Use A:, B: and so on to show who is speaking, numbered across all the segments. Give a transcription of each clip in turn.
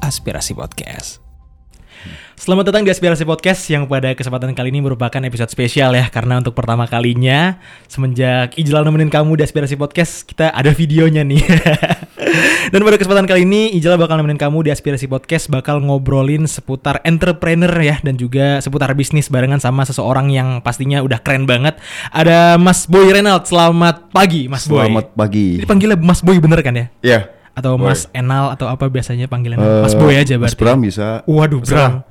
A: Aspirasi Podcast.
B: Selamat datang di Aspirasi Podcast yang pada kesempatan kali ini merupakan episode spesial ya karena untuk pertama kalinya semenjak Ijlal nemenin kamu di Aspirasi Podcast kita ada videonya nih. Dan pada kesempatan kali ini Ijlal bakal nemenin kamu di Aspirasi Podcast bakal ngobrolin seputar entrepreneur ya dan juga seputar bisnis barengan sama seseorang yang pastinya udah keren banget. Ada Mas Boy Renald. Selamat pagi Mas Boy.
C: Selamat pagi.
B: Ini panggilnya Mas Boy bener kan ya?
C: Ya.
B: Atau
C: Boy.
B: Mas Enal atau apa biasanya panggilan
C: eh,
B: Mas Boy aja berarti.
C: Mas Bram bisa.
B: Waduh, Bram.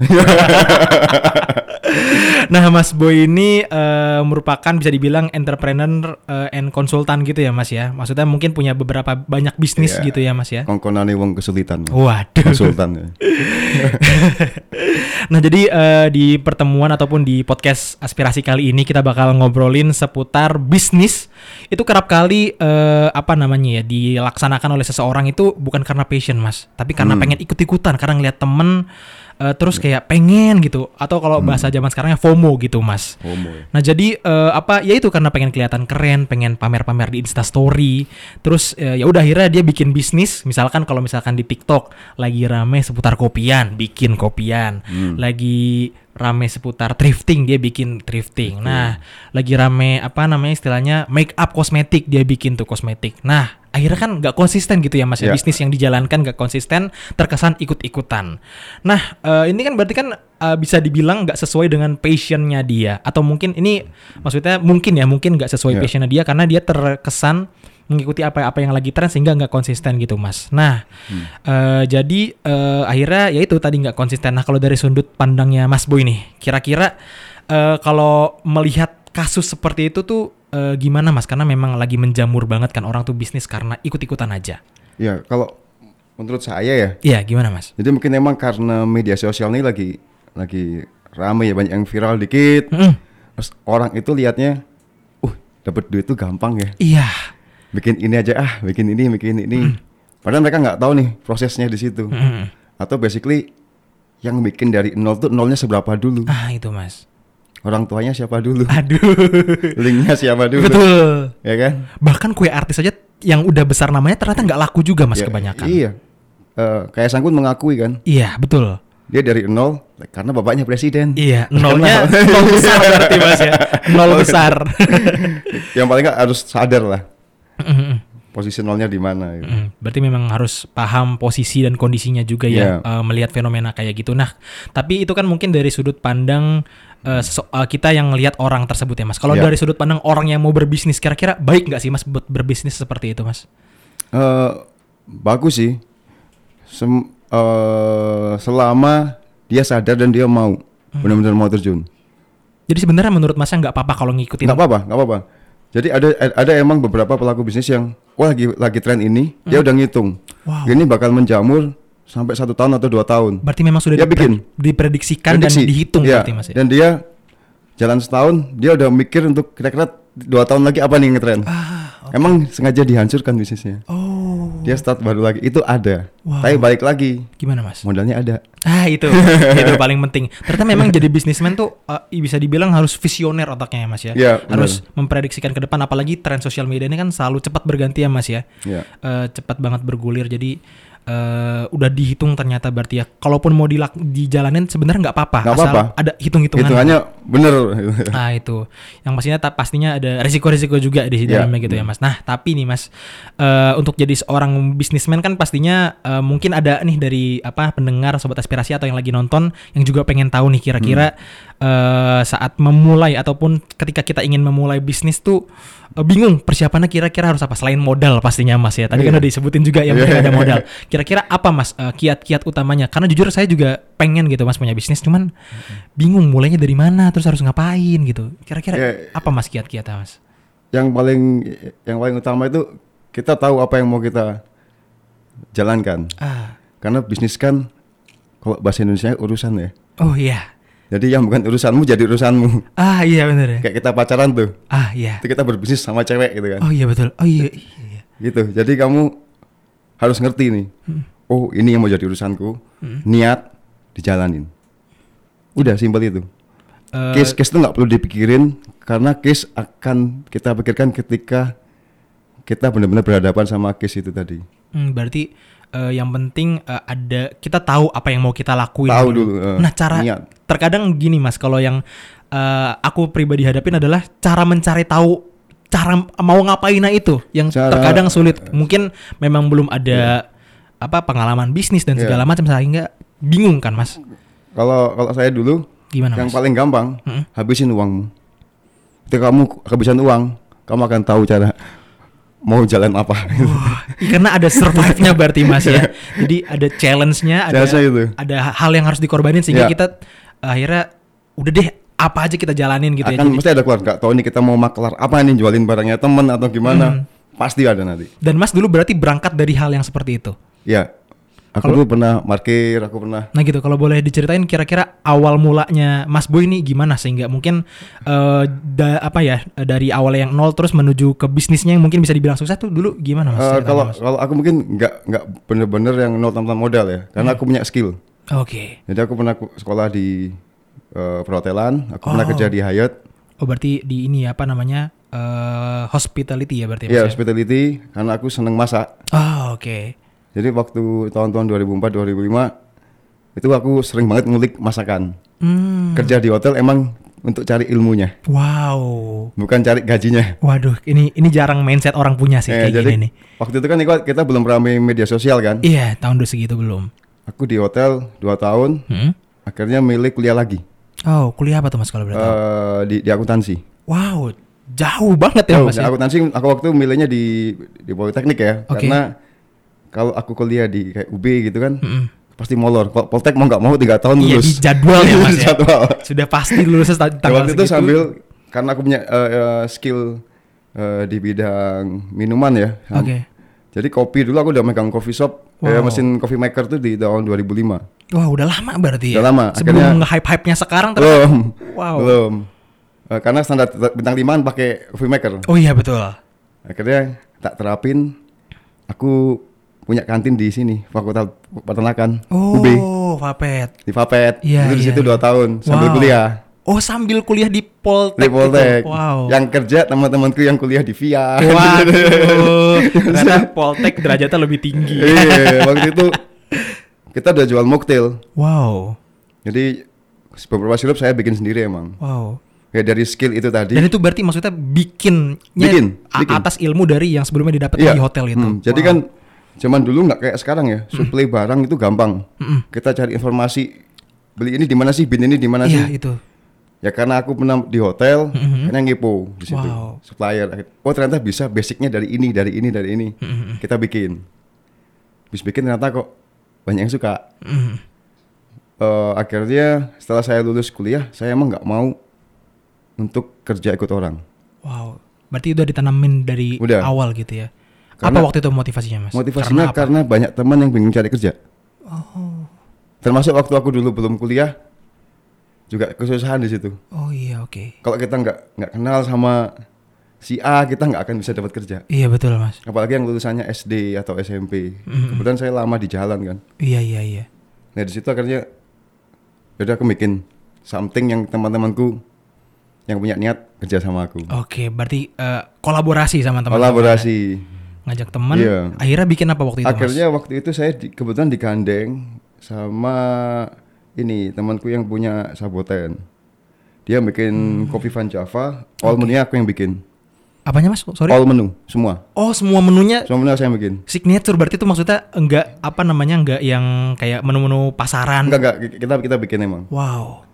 B: nah, Mas Boy ini eh, merupakan bisa dibilang entrepreneur eh, and konsultan gitu ya, Mas ya. Maksudnya mungkin punya beberapa banyak bisnis
C: Iya.
B: gitu ya, Mas ya.
C: Kongkonane wong kesulitan.
B: Oh.
C: ya.
B: Waduh.
C: Konsultan.
B: nah, jadi eh, di pertemuan ataupun di podcast aspirasi kali ini kita bakal ngobrolin seputar bisnis. Itu kerap kali eh, apa namanya ya dilaksanakan oleh seseorang itu bukan karena passion, Mas, tapi karena pengen ikut-ikutan, karena ngeliat temen eh, terus kayak pengen gitu atau kalau bahasa zaman sekarang ya FOMO gitu, Mas.
C: Homo ya.
B: Nah jadi eh, apa ya itu karena pengen kelihatan keren, pengen pamer-pamer di Insta Story. Terus eh, ya udah akhirnya dia bikin bisnis. Misalkan kalau misalkan di TikTok lagi rame seputar kopian, bikin kopian. Lagi rame seputar thrifting, dia bikin thrifting. Nah, lagi rame apa namanya istilahnya make up kosmetik, dia bikin tuh kosmetik. Nah, akhirnya kan nggak konsisten gitu ya mas ya
C: Ya.
B: bisnis yang dijalankan nggak konsisten terkesan ikut-ikutan. Nah eh, ini kan berarti kan eh, bisa dibilang nggak sesuai dengan passionnya dia atau mungkin ini maksudnya mungkin ya mungkin nggak sesuai
C: Ya.
B: passionnya dia karena dia terkesan mengikuti apa-apa yang lagi tren sehingga nggak konsisten gitu mas. Nah eh, jadi eh, akhirnya ya itu tadi nggak konsisten. Nah kalau dari sudut pandangnya Mas Boy nih kira-kira eh, kalau melihat kasus seperti itu tuh eh, gimana mas? Karena memang lagi menjamur banget kan orang tuh bisnis karena ikut-ikutan aja.
C: Ya, kalau menurut saya ya.
B: Iya gimana mas?
C: Jadi mungkin emang karena media sosial ini lagi lagi rame ya banyak yang viral dikit.
B: Mm-mm.
C: Terus orang itu liatnya uh, dapat duit tuh gampang ya.
B: Iya.
C: Bikin ini aja ah, bikin ini, bikin ini. Padahal mereka nggak tahu nih prosesnya di situ.
B: Mm-mm.
C: Atau basically yang bikin dari nol tuh nolnya seberapa dulu.
B: Ah itu mas.
C: Orang tuanya siapa dulu?
B: Aduh.
C: Linknya siapa dulu?
B: Betul.
C: Ya kan?
B: Bahkan kue artis aja yang udah besar namanya ternyata nggak laku juga mas
C: Ya,
B: kebanyakan.
C: Iya. Eh, kayak Sangkut mengakui kan,
B: Iya, betul.
C: dia dari nol karena bapaknya presiden.
B: Iya. Nolnya nol besar berarti mas ya. Nol besar.
C: Yang paling nggak harus sadar lah
B: Mm-mm.
C: posisi nolnya di mana. gitu.
B: Mm, berarti memang harus paham posisi dan kondisinya juga ya
C: Iya.
B: eh, melihat fenomena kayak gitu. Nah, tapi itu kan mungkin dari sudut pandang eh, sese- eh, kita yang lihat orang tersebut ya, Mas. Kalau
C: Iya.
B: dari sudut pandang orang yang mau berbisnis, kira-kira baik nggak sih, Mas, buat berbisnis seperti itu, Mas?
C: Eh, bagus sih. Sem- eh, selama dia sadar dan dia mau
B: Hmm.
C: benar-benar mau terjun.
B: Jadi sebenarnya menurut Masnya nggak apa-apa kalau ngikutin.
C: Nggak apa-apa, nggak apa-apa. Jadi ada ada emang beberapa pelaku bisnis yang wah lagi lagi tren ini, dia udah ngitung.
B: Hmm. Wow.
C: Ini bakal menjamur sampai satu tahun atau dua tahun.
B: Berarti memang sudah
C: Dia
B: dipre-
C: Ya, bikin.
B: diprediksikan
C: Prediksi.
B: Kan dan dihitung
C: Iya,
B: berarti, Mas. Ya?
C: Dan dia jalan setahun, dia udah mikir untuk kira-kira dua tahun lagi apa nih yang ngetren.
B: Ah,
C: Emang sengaja dihancurkan bisnisnya.
B: Oh,
C: Dia start baru lagi, itu ada.
B: Wow.
C: Tapi balik lagi,
B: gimana, Mas?
C: modalnya ada.
B: Ah, itu. itu paling penting. Ternyata memang jadi bisnismen tuh eh, bisa dibilang harus visioner otaknya ya, Mas ya.
C: Iya,
B: harus memprediksikan ke depan apalagi tren sosial media ini kan selalu cepat berganti ya, Mas ya.
C: Ya.
B: Eh, cepat banget bergulir. Jadi eh, udah dihitung ternyata berarti ya. Kalaupun mau dilak dijalanin sebenarnya nggak apa-apa.
C: Nggak
B: Asal
C: apa-apa.
B: Ada hitung-hitungan.
C: Hitungannya bener.
B: Nah itu, yang pastinya ta- pastinya ada risiko-risiko juga di sini
C: Iya.
B: dalamnya gitu ya mas. Nah tapi nih mas, eh, untuk jadi seorang bisnismen kan pastinya eh, mungkin ada nih dari apa pendengar sobat aspirasi atau yang lagi nonton yang juga pengen tahu nih kira-kira
C: Hmm.
B: eh, saat memulai ataupun ketika kita ingin memulai bisnis tuh eh, bingung persiapannya kira-kira harus apa selain modal pastinya mas ya. Tadi kan
C: Iya.
B: udah disebutin juga yang penting
C: Iya.
B: ada modal. Kira-kira apa mas eh, kiat-kiat utamanya? Karena jujur saya juga pengen gitu mas punya bisnis, cuman
C: Hmm.
B: bingung mulainya dari mana, terus harus ngapain gitu. Kira-kira
C: Ya.
B: apa mas kiat-kiatnya mas?
C: yang paling yang paling utama itu kita tahu apa yang mau kita jalankan.
B: Ah,
C: Karena bisnis kan kalau bahasa Indonesia urusan ya.
B: oh iya,
C: Jadi yang bukan urusanmu jadi urusanmu.
B: ah iya bener ya,
C: Kayak kita pacaran tuh.
B: ah iya,
C: Itu kita berbisnis sama cewek gitu kan.
B: oh iya betul, oh iya, iya.
C: gitu jadi kamu harus ngerti nih
B: Hmm.
C: oh ini yang mau jadi urusanku niat dijalanin udah simpel itu
B: Eh,
C: case case itu nggak perlu dipikirin karena case akan kita pikirkan ketika kita benar-benar berhadapan sama case itu tadi.
B: Hmm, berarti eh, yang penting eh, ada kita tahu apa yang mau kita lakuin.
C: Tahu dulu, eh,
B: nah cara
C: niat.
B: terkadang gini mas, kalau yang eh, aku pribadi hadapin adalah cara mencari tahu cara m- mau ngapainnya itu yang
C: Cara- eh.
B: terkadang sulit. Mungkin memang belum ada apa pengalaman bisnis dan
C: Iya.
B: segala macam sehingga bingung kan mas.
C: Kalau kalau saya dulu
B: Gimana
C: yang
B: mas? Hmm?
C: paling gampang
B: Mm-mm.
C: habisin uangmu. Ketika kamu kehabisan uang, kamu akan tahu cara mau jalan apa.
B: Wah, karena ada survive-nya berarti mas
C: Iya.
B: ya. Jadi ada challenge-nya, ada
C: Challenge-nya itu.
B: ada hal yang harus dikorbanin sehingga
C: Ya.
B: kita eh, akhirnya udah deh apa aja kita jalanin gitu ya.
C: akan
B: Jadi-
C: mesti ada keluar nggak tahu nih kita mau maklar apa nih jualin barangnya temen atau
B: Hmm.
C: gimana pasti ada nanti
B: Dan mas dulu berarti berangkat dari hal yang seperti itu.
C: ya aku dulu pernah parkir aku pernah
B: Nah gitu, kalau boleh diceritain kira-kira awal mulanya Mas Boy ini gimana sehingga mungkin eh, da- apa ya dari awal yang nol terus menuju ke bisnisnya yang mungkin bisa dibilang sukses tuh dulu gimana Mas?
C: eh,
B: ceritanya,
C: kalau
B: Mas?
C: kalau aku mungkin nggak nggak bener-bener yang nol tanpa modal ya
B: Hmm.
C: karena aku punya skill
B: Oke,
C: jadi aku pernah ku- sekolah di eh, perhotelan aku pernah
B: Oh.
C: kerja di Hyatt
B: oh berarti di ini ya, apa namanya eh, hospitality ya berarti? Mas,
C: ya
B: ya?
C: hospitality karena aku seneng masak
B: Oh oke.
C: jadi waktu tahun-tahun 2004 2005 itu aku sering banget ngulik masakan
B: Hmm,
C: kerja di hotel emang untuk cari ilmunya
B: wow.
C: bukan cari gajinya
B: Waduh, ini ini jarang mindset orang punya sih
C: Eh,
B: kayak
C: jadi
B: gini nih.
C: waktu itu kan Niko, kita belum ramai media sosial kan.
B: Iya, tahun dulu segitu belum.
C: Aku di hotel 2 tahun,
B: Hmm?
C: akhirnya milih kuliah lagi
B: Oh, kuliah apa tuh Mas kalau boleh tahu?
C: eh, di, di akuntansi.
B: Wow, jauh banget ya
C: Oh,
B: Mas.
C: di
B: ya.
C: akuntansi aku waktu milihnya di di Politeknik ya,
B: Oke.
C: karena kalau aku kuliah di kayak UB gitu kan
B: Mm-mm.
C: pasti molor. Kalau Poltek mau nggak mau tiga tahun
B: Iya,
C: lulus.
B: di jadwal ya, Mas, ya.
C: Jadwal.
B: Sudah pasti lulusnya ta-
C: Ya,
B: tanggal
C: waktu itu
B: segitu.
C: sambil karena aku punya eh, eh, skill eh, di bidang minuman ya.
B: Oke.
C: Jadi kopi dulu aku udah megang coffee shop, eh,
B: Wow.
C: mesin coffee maker tuh di tahun 2005.
B: Wah, udah lama berarti. ya?
C: Udah lama,
B: Sebelum
C: akhirnya-
B: nge-hype-hype-nya sekarang ter-
C: belum
B: Wow.
C: belum Eh, karena standar t- bintang limaan pakai coffee maker
B: Oh iya betul.
C: akhirnya tak terapin aku punya kantin di sini fakultas peternakan
B: Oh,
C: UB
B: Vapet.
C: di Fapet
B: Iya,
C: itu di
B: iya,
C: situ
B: iya.
C: dua tahun sambil
B: Wow.
C: kuliah
B: Oh, sambil kuliah di Poltek.
C: di
B: itu.
C: Poltek
B: Wow.
C: yang kerja teman-temanku yang kuliah di VIA
B: Waduh, ternyata Poltek derajatnya lebih tinggi.
C: iya waktu itu kita udah jual mocktail
B: Wow,
C: jadi beberapa sirup saya bikin sendiri emang
B: wow.
C: ya dari skill itu tadi
B: Dan itu berarti maksudnya bikin
C: Bikin, bikin.
B: atas ilmu dari yang sebelumnya didapat
C: Iya.
B: di hotel itu.
C: Hmm, Jadi
B: Wow.
C: kan zaman dulu nggak kayak sekarang ya. Suplai barang itu gampang.
B: Mm-mm.
C: Kita cari informasi beli ini di mana sih, bin ini di mana
B: Iya
C: sih.
B: itu.
C: Ya karena aku pernah di hotel, karena ngipo di situ.
B: Wow.
C: Supplier. Oh ternyata bisa basicnya dari ini, dari ini, dari ini.
B: Mm-hmm.
C: Kita bikin. Habis bikin ternyata kok banyak yang suka.
B: Mm.
C: Eh, akhirnya setelah saya lulus kuliah, saya emang nggak mau untuk kerja ikut orang.
B: Wow. Berarti udah ditanamin dari
C: Udah.
B: awal gitu ya.
C: Karena-
B: apa waktu itu motivasinya mas?
C: Motivasinya
B: Karena apa? Oh.
C: karena, banyak teman yang bingung cari kerja. Termasuk waktu aku dulu belum kuliah juga kesusahan di situ.
B: Oh iya oke.
C: Kalau kita nggak nggak kenal sama si A, kita nggak akan bisa dapat kerja.
B: Iya betul mas.
C: Apalagi yang lulusannya SD atau SMP.
B: Mm-hmm.
C: Kebetulan saya lama di jalan kan.
B: Iya iya iya.
C: Nah di situ akhirnya yaudah aku bikin something yang teman-temanku yang punya niat kerja sama aku.
B: Oke berarti eh, kolaborasi sama teman.
C: Kolaborasi.
B: ya. Ngajak teman.
C: Iya.
B: Akhirnya bikin apa waktu itu mas?
C: Akhirnya waktu itu saya di- kebetulan digandeng sama ini temanku yang punya saboten. Dia
B: Hmm.
C: bikin kopi Van Java, all menunya aku yang bikin.
B: Apanya mas? Sorry.
C: All menu semua.
B: Oh semua menunya
C: Semua menu saya yang bikin.
B: signature berarti itu maksudnya enggak apa namanya enggak yang kayak menu-menu pasaran.
C: Enggak enggak kita kita bikin emang.
B: Wow.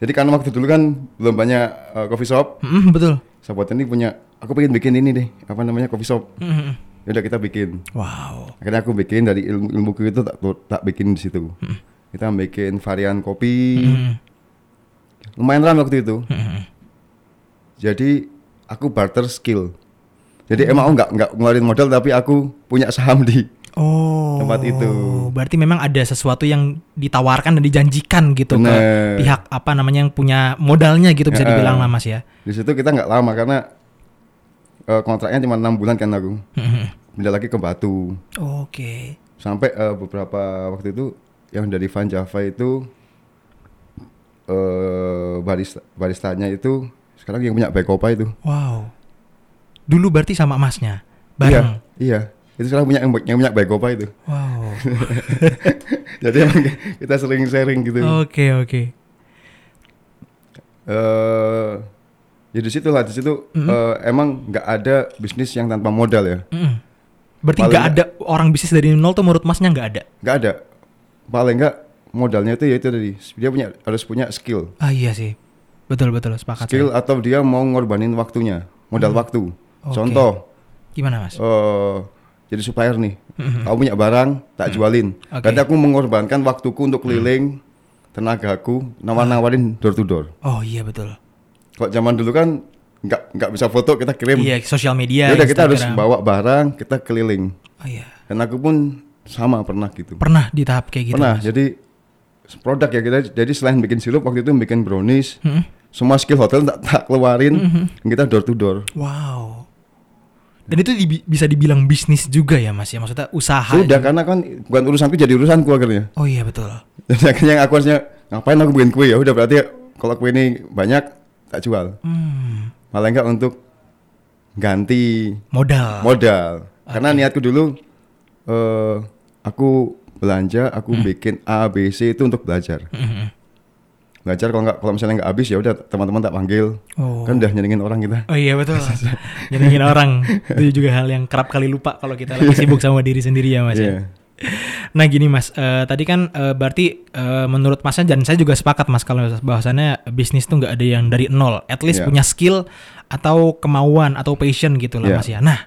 C: Jadi karena waktu dulu kan belum banyak uh, coffee shop,
B: Mm, betul.
C: saboten ini punya aku pengen bikin ini deh, apa namanya coffee shop.
B: Mm.
C: Ya udah kita bikin.
B: Wow.
C: Akhirnya aku bikin dari ilmu ilmuku itu tak tak bikin di situ. Kita bikin varian kopi.
B: Mm.
C: Lumayan ramai waktu itu.
B: Mm.
C: Jadi aku barter skill. Jadi emang aku nggak nggak ngeluarin modal tapi aku punya saham di.
B: Oh.
C: Tempat itu.
B: Berarti memang ada sesuatu yang ditawarkan dan dijanjikan gitu ke
C: Bener.
B: pihak apa namanya yang punya modalnya gitu bisa
C: Ya.
B: dibilang lah Mas ya.
C: Di situ kita nggak lama karena eh, kontraknya cuma enam bulan kan aku. Pindah lagi ke Batu.
B: Oke.
C: Sampai eh, beberapa waktu itu yang dari Van Java itu eh barista baristanya itu sekarang yang punya Bekopa itu.
B: Wow. Dulu berarti sama Masnya. bareng.
C: Iya, iya. Itu sekarang punya yang yang punya Bagopa itu.
B: Wow.
C: Jadi emang kita sering sharing gitu.
B: Oke oke.
C: eh ya di situ lah di situ
B: Mhm.
C: eh, emang nggak ada bisnis yang tanpa modal ya
B: Mm-mm. Berarti
C: Paling
B: nggak ada
C: nggak-
B: orang bisnis dari nol tuh menurut masnya nggak ada.
C: nggak ada paling nggak modalnya itu ya itu tadi dia punya harus punya skill
B: Ah iya sih. Betul betul sepakat.
C: skill
B: saya.
C: atau dia mau ngorbanin waktunya modal waktu
B: Mm-hmm. Oke.
C: contoh
B: Gimana mas?
C: eh jadi supplier nih
B: Mhm.
C: kamu punya barang tak jualin
B: Oke. Mm-hmm.
C: berarti aku mengorbankan waktuku untuk keliling tenagaku nawar-nawarin door to door
B: Oh iya betul.
C: kalau zaman dulu kan nggak nggak bisa foto kita kirim
B: Iya sosial media.
C: ya udah kita harus
B: Instagram.
C: bawa barang kita keliling
B: Oh iya.
C: Dan aku pun sama pernah gitu.
B: Pernah di tahap kayak gitu.
C: pernah. Jadi produk ya kita. Jadi selain bikin sirup waktu itu bikin brownies,
B: Mm-mm.
C: semua skill hotel tak, tak keluarin.
B: Mm-hmm.
C: Kita door to door.
B: Wow. Dan itu dibi- bisa dibilang bisnis juga ya mas ya maksudnya usaha.
C: Sudah karena kan bukan urusanku jadi urusanku akhirnya.
B: Oh iya betul.
C: Jadi akhirnya yang aku harusnya ngapain aku bikin kue ya udah berarti kalau kue ini banyak tak jual.
B: Hmm,
C: Malah enggak untuk ganti
B: modal.
C: modal. Karena niatku dulu eh aku belanja, aku
B: Hmm.
C: bikin A B C itu untuk belajar.
B: Mm-mm.
C: Belajar kalau nggak kalau misalnya nggak habis ya udah teman-teman tak panggil.
B: Oh.
C: Kan udah nyenengin orang kita.
B: Oh iya betul. Nyenengin orang itu juga hal yang kerap kali lupa kalau kita lagi sibuk sama diri sendiri ya mas. ya.
C: Iya.
B: Nah gini mas, eh, tadi kan eh, berarti eh, menurut masnya dan saya juga sepakat mas kalau bahwasannya bisnis tuh nggak ada yang dari nol. At least
C: Iya.
B: punya skill atau kemauan atau passion gitu lah
C: Iya.
B: mas ya. Nah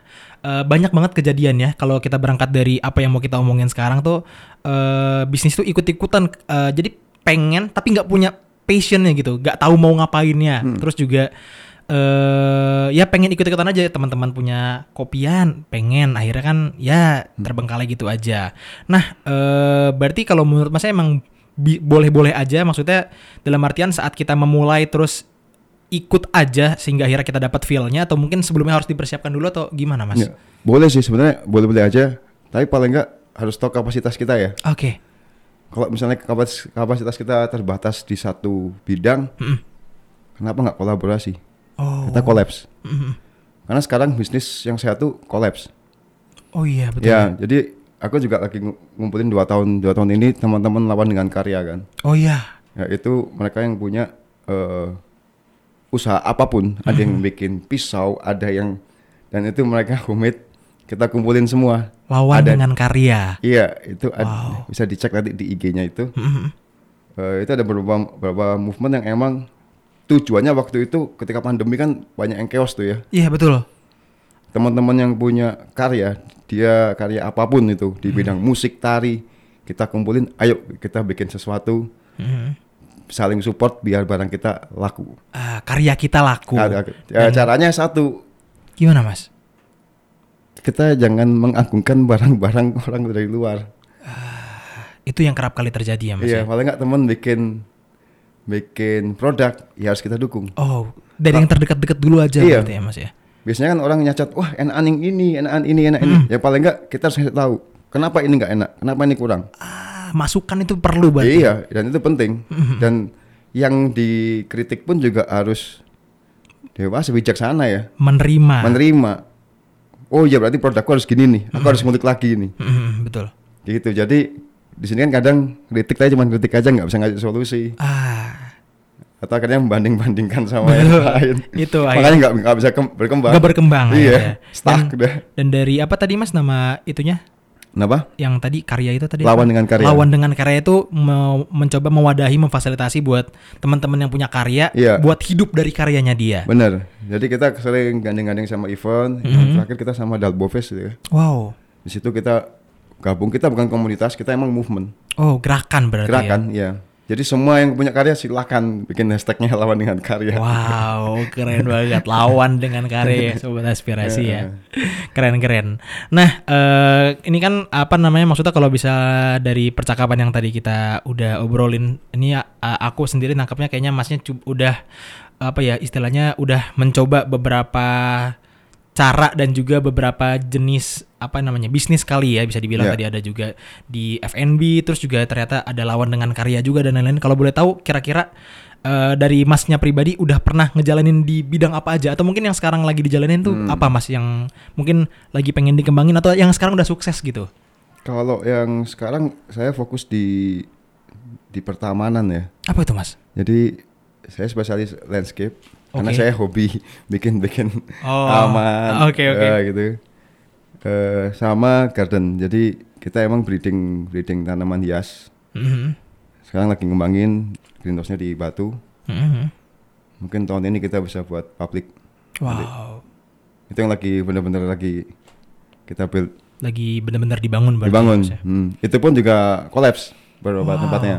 B: eh, banyak banget kejadian ya kalau kita berangkat dari apa yang mau kita omongin sekarang tuh eh, bisnis tuh ikut-ikutan. eh, jadi pengen tapi nggak punya passionnya gitu, nggak tahu mau ngapainnya. Terus juga eh ya pengen ikut-ikutan aja teman-teman punya kopian pengen akhirnya kan ya terbengkalai gitu aja nah eh berarti kalau menurut mas saya emang bi- boleh-boleh aja maksudnya dalam artian saat kita memulai terus ikut aja sehingga akhirnya kita dapat feel-nya atau mungkin sebelumnya harus dipersiapkan dulu atau gimana mas
C: Iya. Boleh sih sebenarnya boleh-boleh aja. Tapi paling nggak harus tahu kapasitas kita ya.
B: oke
C: Kalau misalnya kapas- kapasitas kita terbatas di satu bidang,
B: Mm-mm.
C: kenapa nggak kolaborasi?
B: oh
C: Kita kolaps.
B: Mm-mm.
C: Karena sekarang bisnis yang sehat tuh kolaps.
B: oh iya betul
C: Ya, jadi aku juga lagi ngu- ngumpulin dua tahun dua tahun ini teman-teman lawan dengan karya kan.
B: oh iya
C: Yaitu mereka yang punya eh, usaha apapun, ada yang bikin pisau, ada yang dan itu mereka homemade. Kita kumpulin semua.
B: lawan
C: Ada-
B: dengan karya
C: Iya, itu ad-
B: Wow.
C: bisa dicek nanti di IG-nya itu.
B: Mm-mm.
C: Eh, itu ada beberapa beberapa movement yang emang tujuannya waktu itu ketika pandemi kan banyak yang chaos tuh ya.
B: iya betul
C: Teman-teman yang punya karya, dia karya apapun itu di bidang musik, tari, kita kumpulin, ayo kita bikin sesuatu,
B: Mm-mm.
C: saling support biar barang kita laku.
B: Ah, karya kita laku
C: Nah, eh, caranya satu,
B: gimana mas
C: kita jangan mengagungkan barang-barang orang dari luar.
B: itu yang kerap kali terjadi ya mas ya?
C: Iya, paling nggak teman bikin bikin produk, ya harus kita dukung.
B: oh dari yang terdekat-dekat dulu aja
C: Iya.
B: berarti ya mas ya
C: Biasanya kan orang nyacat, wah enakan yang ini, enakan ini, enak ini. Ya paling enggak kita harus tahu kenapa ini enggak enak, kenapa ini kurang.
B: ah, masukan itu perlu berarti
C: Iya, dan itu penting. Dan yang dikritik pun juga harus dewasa bijaksana ya,
B: menerima
C: menerima. Oh iya berarti produkku harus gini nih, aku harus ngulik lagi nih.
B: Mm, betul
C: Gitu. Jadi di sini kan kadang kritik aja cuma kritik aja nggak bisa ngasih solusi
B: ah
C: atau akhirnya membanding-bandingkan sama yang lain.
B: itu akhirnya
C: Makanya nggak nggak bisa kem- berkembang.
B: nggak berkembang akhirnya.
C: Iya,
B: dan,
C: stuck udah.
B: dan dari apa tadi mas nama itunya
C: Kenapa?
B: yang tadi karya itu tadi
C: Lawan
B: apa?
C: dengan karya.
B: lawan dengan karya itu mau mencoba mewadahi memfasilitasi buat teman-teman yang punya karya
C: Iya.
B: buat hidup dari karyanya dia
C: Bener. Jadi kita sering gandeng-gandeng sama
B: Mhm.
C: event. Yang terakhir kita sama Dalboves gitu ya.
B: wow
C: Di situ kita gabung kita bukan komunitas, kita emang movement,
B: oh gerakan berarti ya.
C: gerakan, ya. Jadi semua yang punya karya silakan bikin hashtagnya lawan dengan karya.
B: Wow, keren banget. Lawan dengan karya ya, sobat aspirasi ya. Keren-keren. Nah, eh, ini kan apa namanya? Maksudnya kalau bisa dari percakapan yang tadi kita udah obrolin, ini eh, aku sendiri nangkapnya kayaknya masnya cu- udah apa ya istilahnya udah mencoba beberapa cara dan juga beberapa jenis apa namanya bisnis kali ya bisa dibilang
C: Iya.
B: tadi ada juga di F&B terus juga ternyata ada lawan dengan karya juga dan lain-lain kalau boleh tahu kira-kira eh, dari masnya pribadi udah pernah ngejalanin di bidang apa aja atau mungkin yang sekarang lagi dijalanin tuh
C: Hmm.
B: apa mas yang mungkin lagi pengen dikembangin atau yang sekarang udah sukses gitu?
C: Kalau yang sekarang saya fokus di di pertamanan ya.
B: Apa itu mas?
C: Jadi saya spesialis landscape karena
B: Oke.
C: saya hobi bikin-bikin
B: Oh,
C: taman
B: oke, oke.
C: eh, gitu. Eh, sama garden. Jadi kita emang breeding breeding tanaman hias.
B: Mhm.
C: Sekarang lagi ngembangin greenhouse-nya di Batu.
B: Mhm.
C: Mungkin tahun ini kita bisa buat public.
B: Wow,
C: Itu yang lagi bener-bener lagi kita build
B: lagi benar-benar dibangun berarti
C: dibangun.
B: Mas, ya?
C: Hmm. Itu pun juga collapse beberapa
B: Wow.
C: tempatnya.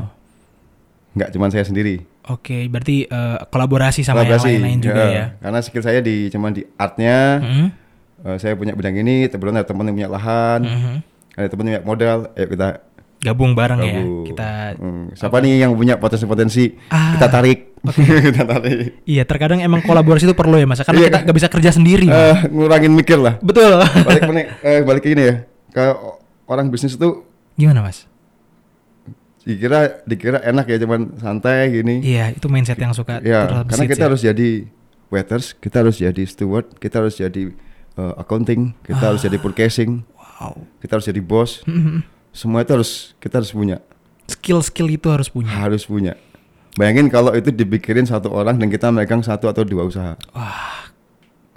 C: Nggak cuman saya sendiri.
B: Oke, berarti eh, kolaborasi sama
C: Kolaborasi, Eh,
B: yang lain-lain juga ya.
C: Karena skill saya di cuman di artnya,
B: Mhm.
C: eh, saya punya bidang ini, kebetulan ada teman yang punya lahan,
B: Mhm.
C: ada teman yang punya modal, ayo kita
B: Gabung bareng ya.
C: gabung.
B: Kita
C: Hmm, siapa nih yang punya potensi-potensi
B: Ah,
C: kita tarik. kita tarik.
B: Iya, terkadang emang kolaborasi itu perlu ya, Mas. Karena
C: Iya,
B: kita nggak bisa kerja sendiri. Mas.
C: Eh, ngurangin mikir lah.
B: Betul.
C: Balik balik, eh, balik ke ini ya. Ke orang bisnis itu
B: Gimana, Mas?
C: dikira dikira enak ya cuman santai gini.
B: Iya, itu mindset yang suka
C: Ya,
B: terus
C: karena
B: sih.
C: kita harus jadi waiters, kita harus jadi steward, kita harus jadi uh, accounting, kita
B: Ah.
C: harus jadi purchasing,
B: wow.
C: kita harus jadi bos.
B: Mhm.
C: Semua itu harus kita harus punya,
B: Skill-skill itu harus punya.
C: harus punya. Bayangin kalau itu dipikirin satu orang dan kita megang satu atau dua usaha,
B: Wah,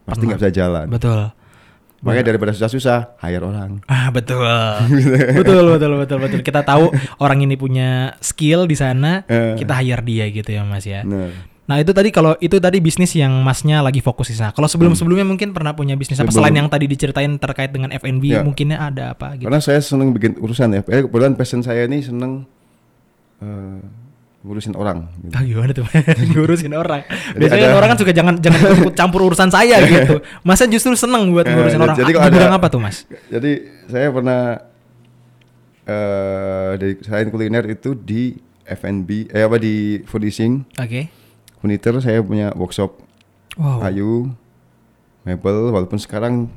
C: pasti nggak bisa jalan.
B: betul.
C: Makanya daripada susah-susah, hire orang.
B: Ah, betul. betul, betul, betul, betul. Kita tahu orang ini punya skill di sana,
C: Eh.
B: kita hire dia gitu ya, Mas ya.
C: Nah,
B: Nah, itu tadi kalau itu tadi bisnis yang Masnya lagi fokus di sana. Kalau sebelum-sebelumnya mungkin pernah punya bisnis apa
C: Sebelum-
B: selain yang tadi diceritain terkait dengan F&B,
C: Ya.
B: mungkinnya ada apa gitu.
C: karena saya seneng bikin urusan ya. Eh, Kebetulan passion saya ini seneng uh, ngurusin orang. gitu.
B: Ah, gimana tuh ngurusin orang.
C: Jadi
B: Biasanya
C: ada-
B: orang kan suka jangan jangan ikut campur urusan saya gitu. Masa justru seneng buat
C: Eh,
B: ngurusin
C: jadi-
B: orang.
C: jadi
B: Jadi
C: kalau ada-
B: bidang apa tuh, Mas?
C: Jadi saya pernah eh dari selain kuliner itu di F&B eh apa di furnishing,
B: Oke.
C: furniture saya punya workshop
B: Wow.
C: kayu, mebel walaupun sekarang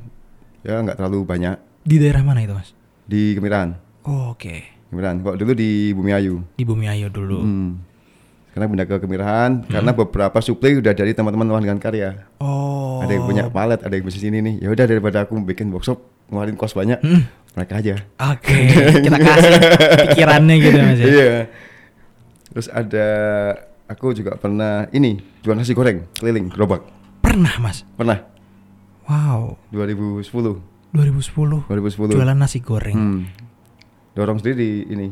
C: ya nggak terlalu banyak
B: Di daerah mana itu, Mas?
C: di Kemiran.
B: Oh, Oke.
C: Kemiran. Kalau dulu di Bumi Ayu.
B: Di Bumi Ayu dulu.
C: Hmm. Sekarang pindah ke Kemirahan
B: Hmm.
C: karena beberapa suplai udah dari teman-teman Wangan Karya.
B: Oh.
C: Ada yang punya palet, ada yang bisnis ini nih. Ya udah daripada aku bikin workshop ngeluarin kos banyak,
B: Hmm.
C: mereka aja.
B: Oke, kita kasih pikirannya gitu Mas ya.
C: Iya. Terus ada aku juga pernah ini jual nasi goreng keliling gerobak.
B: Pernah, Mas.
C: Pernah
B: Wow.
C: 2010,
B: 2010
C: 2010.
B: jualan nasi goreng.
C: Hmm. Dorong sendiri di ini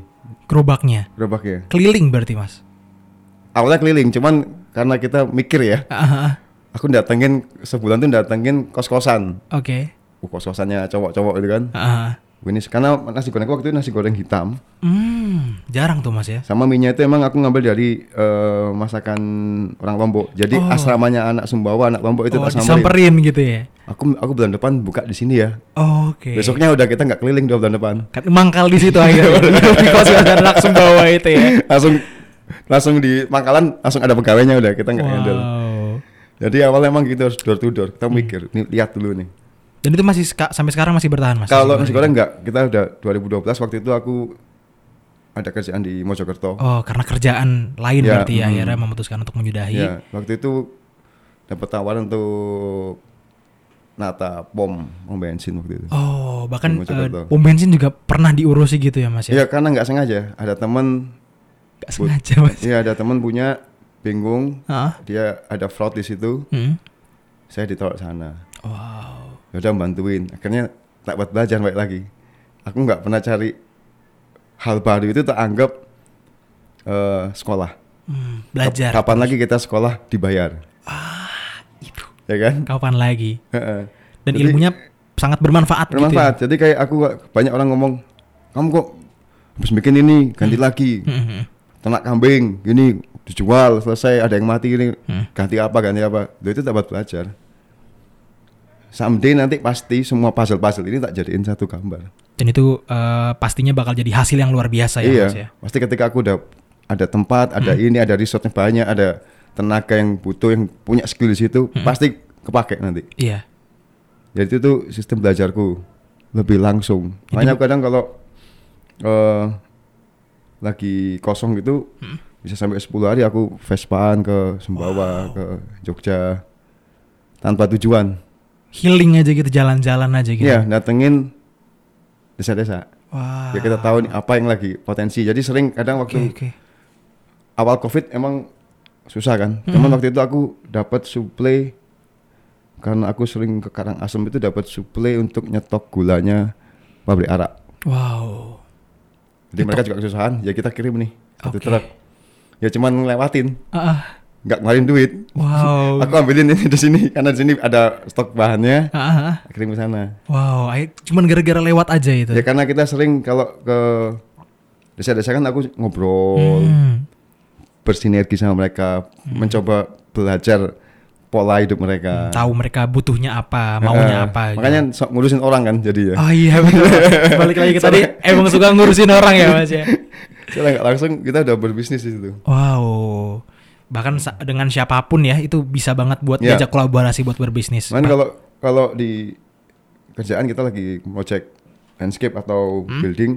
B: Gerobaknya.
C: gerobaknya.
B: Keliling berarti, Mas.
C: ya? Awalnya keliling, cuman karena kita mikir ya,
B: Ah,
C: aku datengin sebulan tuh datengin kos-kosan.
B: Oke.
C: Uh, kos-kosannya cowok-cowok gitu kan.
B: Ah,
C: Ini karena nasi goreng waktu itu nasi goreng hitam
B: Hmm, jarang tuh Mas ya.
C: sama minyak itu emang aku ngambil dari eh, masakan orang Lombok. Jadi
B: Oh.
C: asramanya anak Sumbawa, anak Lombok
B: oh,
C: itu tak samperin.
B: disamperin gitu ya.
C: Aku aku bulan depan buka di sini ya.
B: Oke.
C: Besoknya udah kita nggak keliling dua bulan depan.
B: Kan mangkal di situ akhirnya. di kos ada langsung bawa itu ya.
C: langsung langsung di pangkalan langsung ada pegawainya udah kita nggak handle.
B: Wow.
C: Jadi awalnya emang gitu harus door to door. Kita
B: Hmm.
C: mikir, nih lihat dulu nih.
B: Dan itu masih ska- sampai sekarang masih bertahan Mas.
C: Kalau nasi
B: Masih
C: goreng nggak, kita udah 2012 waktu itu aku ada kerjaan di Mojokerto.
B: Oh, karena kerjaan lain
C: Ya,
B: berarti ya,
C: mm.
B: akhirnya memutuskan untuk menyudahi.
C: Ya, waktu itu dapat tawaran untuk nata pom pom bensin waktu itu.
B: Oh, bahkan eh,
C: Di Mojokerto.
B: pom bensin juga pernah diurusi gitu ya Mas ya.
C: Iya, karena nggak sengaja ada teman,
B: Gak sengaja Mas.
C: iya ada teman punya bingung,
B: Ah.
C: dia ada fraud di situ,
B: Hmm.
C: saya ditaruh sana.
B: Wow.
C: ya udah bantuin akhirnya tak buat belajar baik lagi aku nggak pernah cari hal baru itu tak anggap eh, sekolah
B: Hmm,
C: Kap-
B: belajar. Ah,
C: kapan lagi kita sekolah dibayar
B: itu.
C: ya kan
B: Kapan lagi?
C: Heeh.
B: Dan
C: Jadi,
B: ilmunya sangat bermanfaat,
C: bermanfaat
B: gitu.
C: jadi kayak aku banyak orang ngomong kamu kok habis bikin ini ganti lagi
B: ya. Hmm, hmm,
C: ternak kambing gini dijual selesai ada yang mati ini
B: Hmm.
C: ganti apa ganti apa Loh, itu tak buat belajar someday nanti pasti semua puzzle-puzzle ini tak jadiin satu gambar
B: Dan itu eh, pastinya bakal jadi hasil yang luar biasa ya,
C: iya,
B: Mas ya. Hmm.
C: pasti ketika aku udah ada tempat, ada ini, ada resortnya banyak, ada tenaga yang butuh, yang punya skill di situ,
B: Hmm.
C: pasti kepake nanti.
B: Iya.
C: Jadi itu tuh sistem belajarku lebih langsung. Makanya aku kadang kalau eh, lagi kosong gitu, bisa sampai 10 hari aku Vespaan ke Sembawa ke Jogja tanpa tujuan
B: Healing aja gitu, jalan-jalan aja gitu.
C: Iya, datengin desa-desa.
B: Wah.
C: Ya kita tahu nih apa yang lagi potensi. Jadi sering kadang
B: Oke,
C: waktu
B: oke.
C: awal Covid emang susah kan. Cuman waktu itu aku dapat suplai karena aku sering ke Karangasem itu dapat suplai untuk nyetok gulanya pabrik arak.
B: Wow.
C: Jadi mereka juga kesusahan, ya kita kirim nih
B: Oke.
C: satu truk. Ya cuman ngelewatin,
B: Ah, ah.
C: nggak ngeluarin duit.
B: wow.
C: Aku ambilin ini di sini karena di sini ada stok bahannya,
B: Ah, ah, ah.
C: kirim ke sana.
B: Wow, ay- cuman gara-gara lewat aja itu.
C: Ya karena kita sering kalau ke desa-desa kan aku ngobrol,
B: Hmm.
C: bersinergi sama mereka, mencoba belajar pola hidup mereka.
B: Tahu mereka butuhnya apa, Hmm, maunya
C: Eh,
B: apa. gitu.
C: Ah. Makanya sok ngurusin orang kan jadi ya.
B: Oh iya betul. Balik lagi ke tadi emang suka ngurusin orang ya Mas ya.
C: Secara nggak langsung kita udah berbisnis di situ.
B: Wow. Bahkan sa- dengan siapapun ya itu bisa banget buat
C: Iya.
B: diajak kolaborasi buat berbisnis.
C: Cuman
B: Pak.
C: kalau kalau di kerjaan kita lagi project landscape atau
B: Hmm?
C: building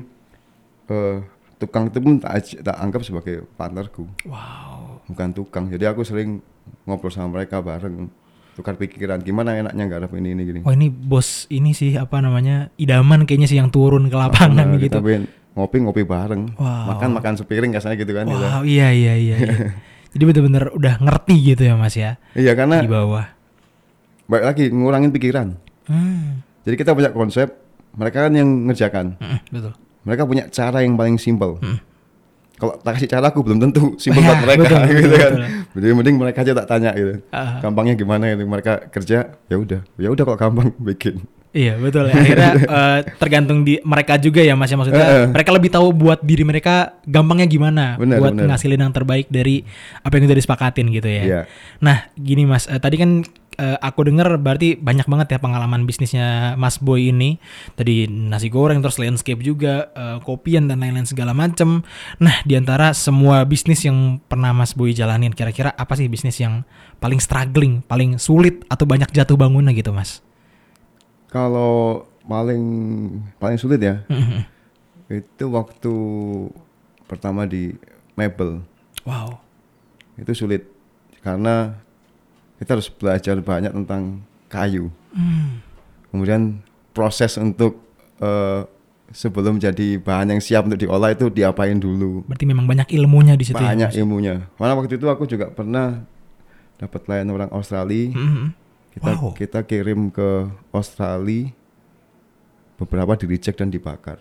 C: eh, tukang itu pun tak, aj- tak anggap sebagai partnerku,
B: Wow.
C: bukan tukang. Jadi aku sering ngobrol sama mereka bareng tukar pikiran gimana enaknya garap ini ini gini.
B: Wah ini bos ini sih apa namanya idaman kayaknya sih yang turun ke lapangan
C: Nah,
B: gitu.
C: Kita pengen ngopi ngopi bareng,
B: Wow.
C: makan makan sepiring biasanya gitu kan. kita.
B: Wow iya iya iya. iya. Jadi bener-bener udah ngerti gitu ya Mas ya
C: Iya karena
B: di bawah.
C: baik lagi ngurangin pikiran.
B: Hmm.
C: Jadi kita punya konsep, mereka kan yang ngerjakan.
B: Mm-mm, Betul.
C: Mereka punya cara yang paling simpel.
B: Mm.
C: Kalau tak kasih cara aku belum tentu simpel
B: Ya,
C: buat mereka
B: betul,
C: gitu
B: betul,
C: kan.
B: betul.
C: Jadi mending mereka aja tak tanya gitu.
B: Ah.
C: Gampangnya gimana itu mereka kerja, ya udah. Ya udah kalau gampang bikin.
B: Iya betul ya. Akhirnya eh, tergantung di mereka juga ya mas ya maksudnya
C: Heeh.
B: mereka lebih tahu buat diri mereka gampangnya gimana
C: Benar,
B: buat
C: benar.
B: ngasilin yang terbaik dari apa yang udah disepakatin gitu ya.
C: Iya.
B: Nah gini mas, eh, tadi kan eh, aku dengar berarti banyak banget ya pengalaman bisnisnya Mas Boy ini. Tadi nasi goreng terus landscape juga eh, kopian dan lain-lain segala macem. Nah diantara semua bisnis yang pernah Mas Boy jalanin kira-kira apa sih bisnis yang paling struggling, paling sulit atau banyak jatuh bangunnya gitu mas?
C: Kalau paling paling sulit ya
B: Mhm.
C: itu waktu pertama di mebel.
B: Wow.
C: itu sulit karena kita harus belajar banyak tentang kayu
B: Hmm.
C: kemudian proses untuk eh, sebelum jadi bahan yang siap untuk diolah itu diapain dulu
B: Berarti memang banyak ilmunya di situ. Ya,
C: banyak
B: Mas?
C: ilmunya karena waktu itu aku juga pernah dapat layanan orang Australia
B: Mm-mm.
C: kita
B: Hmm. Wow.
C: kita kirim ke Australia beberapa di reject dan dibakar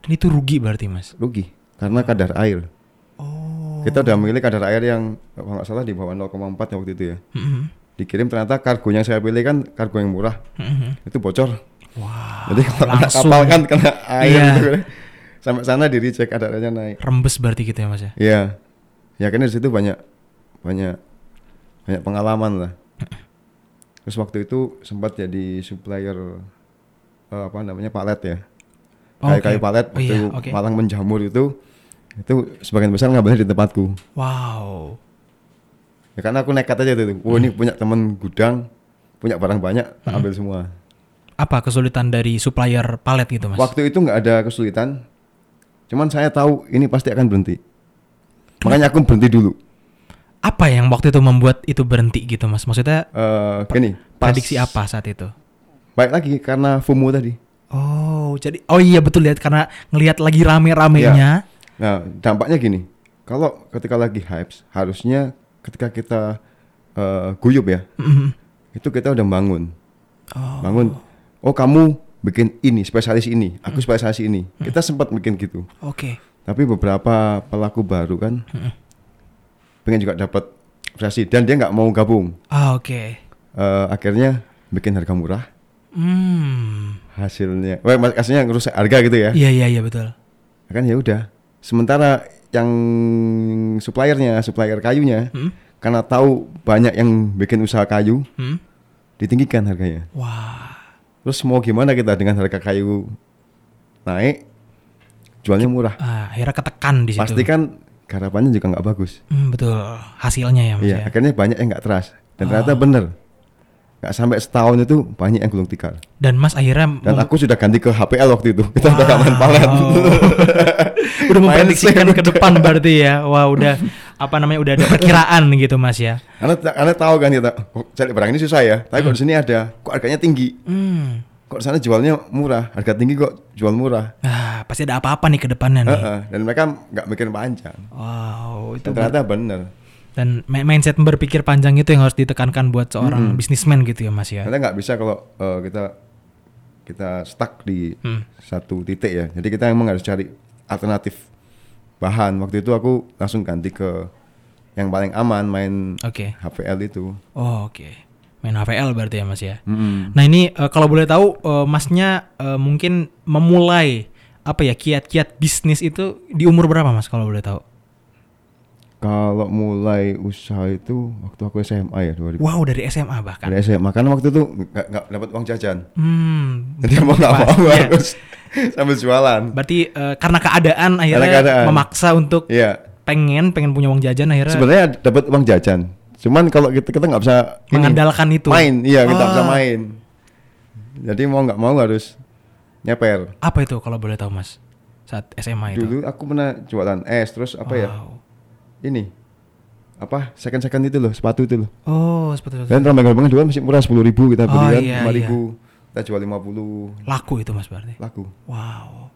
B: Dan itu rugi berarti mas.
C: rugi karena kadar air
B: Oh.
C: kita udah memilih kadar air yang kalau nggak salah di bawah 0,4 ya waktu itu ya
B: Mm-mm.
C: dikirim ternyata kargo yang saya pilih kan kargo yang murah
B: Mm-mm.
C: itu bocor
B: Wah.
C: jadi
B: Mm-hmm.
C: kalau kena
B: Ah, langsung
C: kapal kan kena air
B: Iya.
C: gitu. sampai sana di recheck ada adanya naik
B: Rembes berarti gitu ya mas ya.
C: iya ya akhirnya di situ banyak banyak banyak pengalaman lah terus waktu itu sempat jadi supplier eh, apa namanya palet ya
B: Oh,
C: kayu kayu
B: oke.
C: palet
B: Oh,
C: waktu
B: iya, oke.
C: Malang menjamur itu itu sebagian besar ngambilnya di tempatku
B: Wow.
C: ya karena aku nekat aja tuh
B: Hmm.
C: oh ini punya temen gudang punya barang banyak tak ambil semua
B: Apa kesulitan dari supplier palet gitu mas?
C: Waktu itu nggak ada kesulitan. Cuman saya tahu ini pasti akan berhenti. Makanya aku berhenti dulu.
B: Apa yang waktu itu membuat itu berhenti gitu mas? Maksudnya
C: Eh gini, pas-
B: prediksi apa saat itu?
C: Baik lagi karena FOMO tadi.
B: Oh jadi oh iya betul lihat karena ngelihat lagi rame-ramenya.
C: Nah, dampaknya gini. Kalau ketika lagi hypes, harusnya ketika kita eh guyup ya,
B: Mm-mm.
C: itu kita udah bangun.
B: Oh.
C: Bangun. Oh, kamu bikin ini, spesialis ini, aku spesialis ini. Kita sempat bikin gitu.
B: Oke.
C: Tapi beberapa pelaku baru kan pengen juga dapat prestasi dan dia nggak mau gabung.
B: Ah oke.
C: Eh, akhirnya bikin harga murah
B: Hmm.
C: hasilnya wah mak- hasilnya ngerusak harga gitu ya
B: Iya iya iya betul.
C: kan ya udah sementara yang suppliernya supplier kayunya
B: Hmm?
C: karena tahu banyak yang bikin usaha kayu
B: Hmm?
C: ditinggikan harganya
B: Wah.
C: terus mau gimana kita dengan harga kayu naik jualnya murah
B: Ah, akhirnya ketekan di situ.
C: pasti kan garapannya juga nggak bagus
B: Hmm, betul hasilnya ya mas
C: iya
B: ya. Ah.
C: akhirnya banyak yang nggak teras dan ternyata bener nggak sampai setahun itu banyak yang gulung tikar.
B: Dan Mas akhirnya mem-
C: Dan aku sudah ganti ke HPL waktu itu. Kita udah gak main
B: Wow.
C: palen.
B: udah
C: Main
B: memprediksikan
C: sih
B: ke depan berarti ya. Wah, udah apa namanya udah ada perkiraan gitu Mas ya.
C: Karena karena tahu kan kita kok cari barang ini susah ya. Tapi kok di sini ada, kok harganya tinggi.
B: Hmm.
C: Kok di sana jualnya murah, harga tinggi kok jual murah.
B: Ah, pasti ada apa-apa nih ke depannya nih.
C: Heeh, Dan mereka nggak mikir panjang.
B: Wow, itu
C: Dan ternyata bener.
B: dan ma- mindset berpikir panjang itu yang harus ditekankan buat seorang bisnismen gitu ya Mas ya.
C: Ternyata nggak bisa kalau eh, kita kita stuck di
B: Hmm.
C: satu titik ya. Jadi kita emang harus cari alternatif bahan. Waktu itu aku langsung ganti ke yang paling aman main
B: Oke.
C: HPL itu.
B: Oh, oke. Main HVL berarti ya Mas ya.
C: Mm-mm.
B: Nah, ini eh, kalau boleh tahu eh, Masnya eh, mungkin memulai apa ya kiat-kiat bisnis itu di umur berapa Mas kalau boleh tahu?
C: Kalau mulai usaha itu waktu aku SMA ya 2000.
B: Wow, dari SMA bahkan.
C: Dari SMA. Karena waktu itu nggak nggak dapat uang jajan.
B: Hmm.
C: Jadi mau nggak
B: Pas,
C: mau
B: iya.
C: harus sambil jualan.
B: Berarti eh, karena keadaan akhirnya
C: keadaan.
B: memaksa untuk
C: Iya.
B: pengen pengen punya uang jajan akhirnya
C: Sebenarnya dapat uang jajan. Cuman kalau kita kita nggak bisa ini,
B: mengandalkan itu.
C: main. Iya kita nggak bisa
B: Ah.
C: main. Jadi mau nggak mau harus nyeper.
B: Apa itu kalau boleh tahu Mas? Saat SMA Nah, itu. Ah.
C: Dulu aku pernah jualan es terus apa ya?
B: Wow.
C: Ini apa second second itu loh sepatu itu loh. Kan
B: Oh, seperti itu.
C: Dan rombongan-rombongan dulu masih murah sepuluh ribu kita
B: Oh,
C: beli kan
B: iya,
C: lima
B: iya.
C: ribu kita jual lima puluh
B: Laku itu Mas berarti.
C: laku.
B: Wow.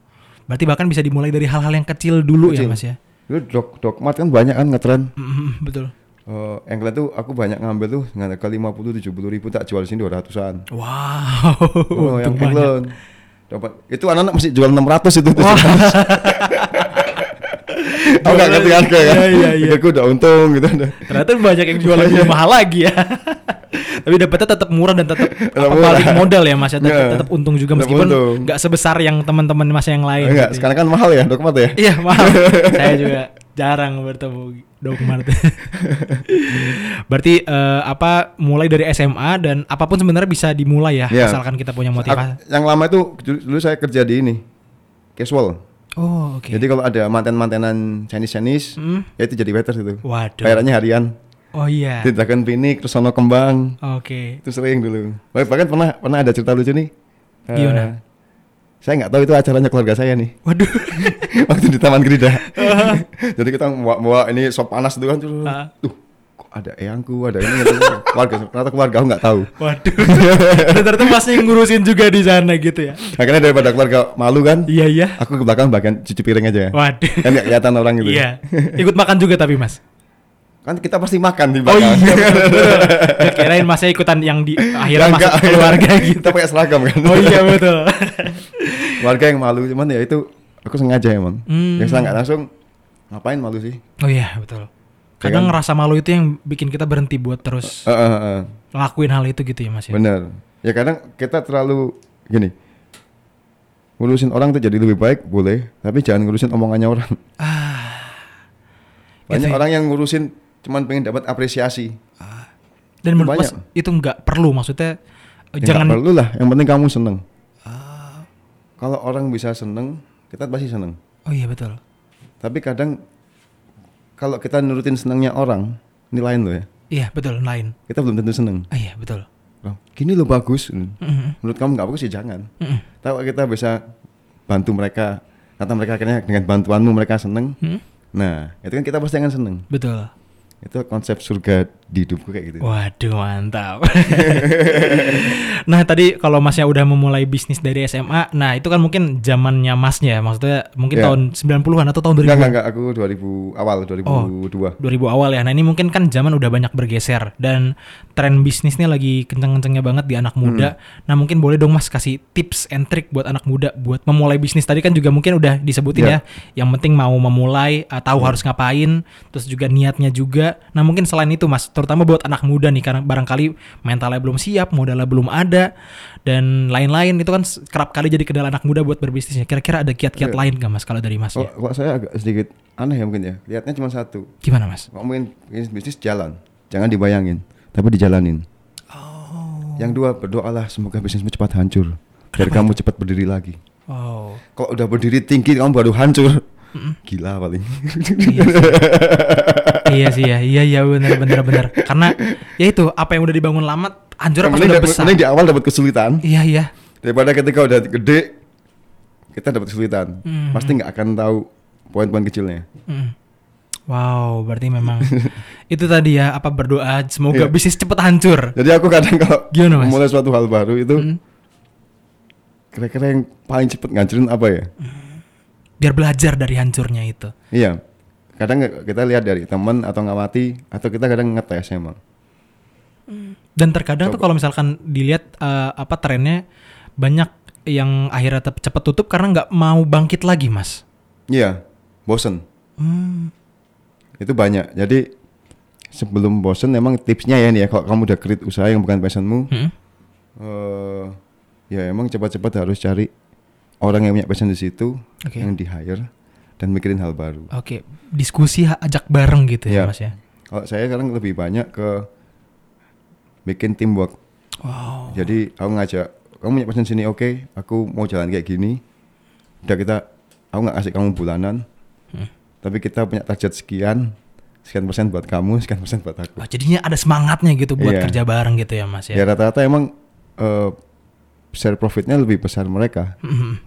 B: Berarti bahkan bisa dimulai dari hal-hal yang kecil dulu ya
C: Kecil.
B: Mas ya.
C: Dulu dok dogmat kan banyak kan ngetren.
B: Mm, betul.
C: Eh, engkau tuh aku banyak ngambil tuh dengan harga lima puluh tujuh puluh ribu tak jual di sini dua ratusan.
B: Wow.
C: Oh, yang
B: Untung banyak.
C: England. Dapat itu anak-anak masih jual 600 itu.
B: Wah.
C: Aku nggak ngerti harga kan.
B: Iya, iya, iya.
C: Aku udah untung gitu. udah.
B: Ternyata banyak yang jual
C: Iya.
B: lebih mahal lagi ya. Tapi dapatnya tetap murah dan tetap apa,
C: Tetap murah.
B: balik modal ya Mas ya. Tetap,
C: Iya.
B: tetap untung juga
C: Tetap
B: meskipun
C: untung.
B: nggak sebesar yang teman-teman Mas yang lain. gitu
C: Enggak,
B: ya.
C: sekarang kan mahal ya dokmat ya.
B: Iya mahal. Saya juga jarang bertemu Dokmart. Berarti eh, apa mulai dari SMA dan apapun sebenarnya bisa dimulai ya
C: Iya.
B: asalkan kita punya
C: Aku-
B: motivasi.
C: yang lama itu dulu dulu saya kerja di ini casual.
B: Oh oke.
C: Jadi kalau ada manten-mantenan Chinese-Chinese,
B: Hmm.
C: ya itu jadi waiter gitu.
B: Waduh.
C: Bayarannya harian.
B: Oh iya.
C: Di Dragon Phoenix, terus sono kembang.
B: Oke.
C: Itu sering dulu. Bah- Bahkan pernah pernah ada cerita lucu nih. Eh,
B: Gimana?
C: saya nggak tahu itu acaranya keluarga saya nih.
B: Waduh.
C: waktu di Taman Gerida. Jadi kita bawa, bawa ini sop panas itu kan terus,
B: Ah.
C: tuh kok ada eyangku, ada ini ada itu. keluarga ternyata keluarga aku nggak tahu.
B: Waduh. Ternyata masih ngurusin juga di sana gitu ya.
C: Akhirnya daripada keluarga malu kan,
B: Iya iya.
C: aku ke belakang bagian cuci piring aja.
B: Waduh.
C: Kan nggak kelihatan orang gitu.
B: Iya. Ikut makan juga tapi Mas.
C: Kan kita pasti makan di
B: Oh iya.
C: belakang.
B: betul, betul. Nggak Kirain Masnya ikutan yang di akhirnya
C: Nggak,
B: masuk
C: nggak.
B: keluarga gitu.
C: Kita pakai seragam kan.
B: Oh iya betul.
C: Keluarga yang malu cuman ya itu aku sengaja emang.
B: Hmm.
C: Ya setelah nggak langsung ngapain malu sih?
B: Oh iya betul. Kadang
C: kan?
B: rasa malu itu yang bikin kita berhenti buat terus
C: Heeh, heeh.
B: lakuin hal itu gitu ya mas ya.
C: Bener. Ya kadang kita terlalu gini. Ngurusin orang tuh jadi lebih baik boleh, tapi jangan ngurusin omongannya orang. Banyak
B: Gitu ya.
C: orang yang ngurusin cuman pengen dapat apresiasi.
B: Dan menurut mas
C: Banyak.
B: itu nggak perlu maksudnya eh,
C: Ya,
B: jangan
C: nggak perlu lah, yang penting kamu seneng. Kalau orang bisa seneng, kita pasti seneng.
B: oh iya betul.
C: Tapi kadang kalau kita nurutin senengnya orang, ini lain loh ya.
B: Iya betul lain.
C: Kita belum tentu seneng.
B: Ah, iya betul.
C: Loh, Gini loh bagus.
B: Mm-mm.
C: Menurut kamu nggak bagus ya jangan.
B: Mm-mm.
C: Tahu kita bisa bantu mereka, kata mereka akhirnya dengan bantuanmu mereka seneng.
B: Mm-mm.
C: Nah, itu kan kita pasti akan seneng.
B: Betul.
C: Itu konsep surga di hidupku kayak
B: Oh,
C: gitu.
B: Waduh mantap. nah tadi kalau masnya udah memulai bisnis dari SMA, nah itu kan mungkin zamannya masnya, maksudnya mungkin
C: Iya.
B: tahun 90-an atau tahun 2000
C: Enggak, enggak, enggak. Aku 2000 awal, 2002.
B: 2000 awal ya. Nah ini mungkin kan zaman udah banyak bergeser dan tren bisnisnya lagi kenceng-kencengnya banget di anak muda. Nah mungkin boleh dong mas kasih tips and trick buat anak muda buat memulai bisnis. Tadi kan juga mungkin udah disebutin
C: Iya.
B: ya. Yang penting mau memulai, eh, tahu harus ngapain, terus juga niatnya juga. Nah mungkin selain itu mas, terutama buat anak muda nih karena barangkali mentalnya belum siap, modalnya belum ada dan lain-lain itu kan s- kerap kali jadi kendala anak muda buat berbisnisnya. Kira-kira ada kiat-kiat lain gak mas kalau dari mas? ya?
C: Kalau kalau saya agak sedikit aneh ya mungkin ya. Lihatnya cuma satu.
B: Gimana mas?
C: Ngomongin bisnis, bisnis jalan. Jangan dibayangin, tapi dijalanin. Yang dua, berdoalah semoga bisnismu cepat hancur. Biar kamu cepat berdiri lagi.
B: Oh.
C: Kalau udah berdiri tinggi kamu baru hancur. gila paling.
B: Iya sih. iya sih ya, iya iya benar benar benar. Karena ya itu apa yang udah dibangun lama anjur pas
C: Mending
B: udah
C: dapet-
B: besar.
C: mending di awal dapat kesulitan
B: Iya iya.
C: daripada ketika udah gede kita dapat kesulitan.
B: Mm-hmm.
C: Pasti nggak akan tahu poin-poin kecilnya.
B: Mm. Wow, berarti memang itu tadi ya apa berdoa semoga
C: Iya.
B: bisnis cepet hancur.
C: Jadi aku kadang kalau
B: Gimana, Mas?
C: mulai suatu hal baru itu
B: Mm.
C: kira-kira yang paling cepet ngancurin apa ya?
B: Mm. Biar belajar dari hancurnya itu.
C: Iya. Kadang nggak- kita lihat dari teman atau ngawati atau kita kadang ngetes emang.
B: Dan terkadang tuh kalau misalkan dilihat eh, apa trennya banyak yang akhirnya tetap cepet tutup karena nggak mau bangkit lagi, Mas.
C: Iya, bosen.
B: Hmm.
C: Itu banyak. Jadi sebelum bosen emang tipsnya ya nih ya kalau kamu udah create usaha yang bukan passionmu,
B: Mm.
C: eh, ya emang cepat-cepat harus cari orang yang punya passion di situ
B: Oke.
C: yang di hire dan mikirin hal baru.
B: Oke, diskusi ha- ajak bareng gitu ya,
C: Iya.
B: Mas ya.
C: Kalau saya sekarang lebih banyak ke bikin teamwork.
B: Wow.
C: Jadi aku ngajak kamu punya passion sini oke, aku mau jalan kayak gini. Udah kita aku nggak kasih kamu bulanan. Tapi kita punya target sekian, sekian persen buat kamu, sekian persen buat aku.
B: Oh, jadinya ada semangatnya gitu buat
C: Iya.
B: kerja bareng gitu ya, Mas
C: Ya
B: ya.
C: rata-rata emang eh, share profitnya lebih besar mereka
B: Mm.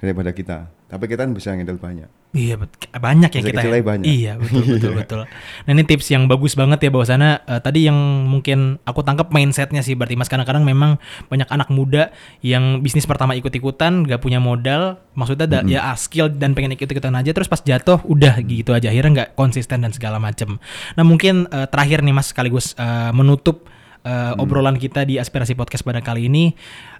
C: daripada kita. Tapi kita kan bisa ngendal banyak.
B: Iya, bet- banyak ya
C: Bisa
B: kita.
C: kecilnya
B: Ya.
C: banyak.
B: Iya, betul betul betul. Nah, ini tips yang bagus banget ya bahwasanya eh, tadi yang mungkin aku tangkap mindsetnya sih berarti Mas kadang-kadang memang banyak anak muda yang bisnis pertama ikut-ikutan gak punya modal, maksudnya da- ya ah, skill dan pengen ikut-ikutan aja terus pas jatuh udah gitu aja akhirnya nggak konsisten dan segala macem. Nah, mungkin eh, terakhir nih Mas sekaligus eh, menutup eh, obrolan kita di aspirasi podcast pada kali ini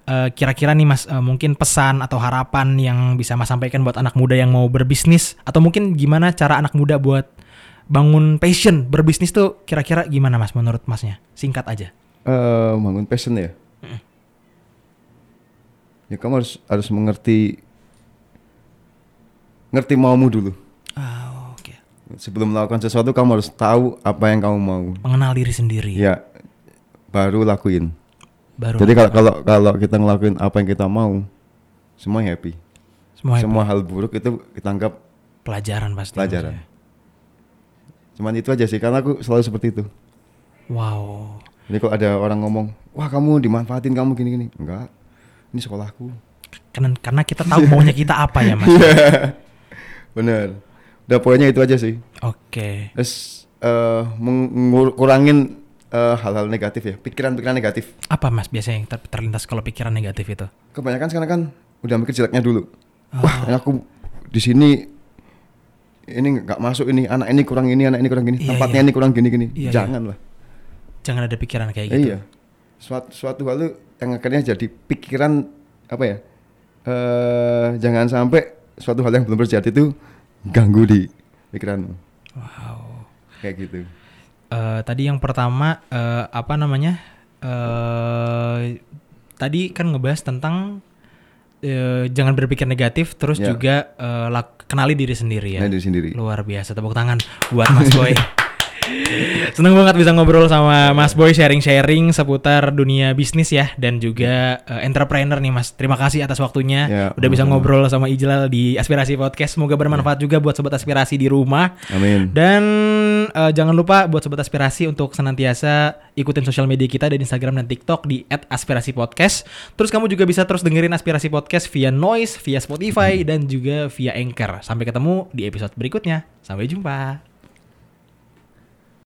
B: Eh, kira-kira nih mas eh, mungkin pesan atau harapan yang bisa mas sampaikan buat anak muda yang mau berbisnis atau mungkin gimana cara anak muda buat bangun passion berbisnis tuh kira-kira gimana mas menurut masnya singkat aja
C: Eh bangun passion ya. Ya kamu harus harus mengerti ngerti maumu dulu.
B: Ah, oke
C: Sebelum melakukan sesuatu kamu harus tahu apa yang kamu mau.
B: mengenal diri sendiri
C: Ya baru lakuin.
B: baru
C: Jadi kalau kalau kalau kita ngelakuin apa yang kita mau, semua happy.
B: semua
C: Semua hal buruk itu ditanggap
B: pelajaran pasti Mas,
C: pelajaran.
B: ya.
C: Cuman itu aja sih karena aku selalu seperti itu.
B: wow
C: Jadi kalau ada orang ngomong, "Wah, kamu dimanfaatin kamu gini-gini." Enggak. Ini sekolahku.
B: karena karena kita tahu maunya kita apa ya mas oke
C: Bener. Udah poinnya itu aja sih. Terus eh, mengurangin hal-hal negatif ya, pikiran-pikiran negatif.
B: apa mas biasanya yang ter- terlintas kalau pikiran negatif itu
C: Kebanyakan sekarang kan udah mikir jeleknya dulu.
B: Ah.
C: Wah, aku di sini ini nggak masuk ini, anak ini kurang ini, anak ini kurang gini,
B: Iya,
C: tempatnya
B: iya.
C: ini kurang gini-gini.
B: Iya, iya.
C: Janganlah.
B: jangan ada pikiran kayak gitu
C: Iya. Suatu, suatu hal tuh yang akhirnya jadi pikiran apa ya? eh jangan sampai suatu hal yang belum terjadi itu ganggu di pikiranmu.
B: wow
C: Kayak gitu.
B: Eh, tadi yang pertama eh, apa namanya? Eh tadi kan ngebahas tentang eh, jangan berpikir negatif, terus
C: Ya.
B: juga eh, lak- kenali diri sendiri ya.
C: Nah, diri sendiri.
B: Luar biasa tepuk tangan buat Mas Boy. Seneng banget bisa ngobrol sama Mas Boy sharing-sharing seputar dunia bisnis ya dan juga eh, entrepreneur nih Mas. Terima kasih atas waktunya.
C: Ya,
B: Udah bisa
C: sama-sama.
B: ngobrol
C: Ya.
B: sama Ijlal di Aspirasi Podcast. Semoga bermanfaat juga buat sobat aspirasi di rumah.
C: Amin.
B: Dan eh, jangan lupa buat sobat aspirasi untuk senantiasa ikutin sosial media kita di Instagram dan TikTok di @aspirasipodcast. Terus kamu juga bisa terus dengerin aspirasi podcast via Noise, via Spotify dan juga via Anchor. Sampai ketemu di episode berikutnya. Sampai jumpa.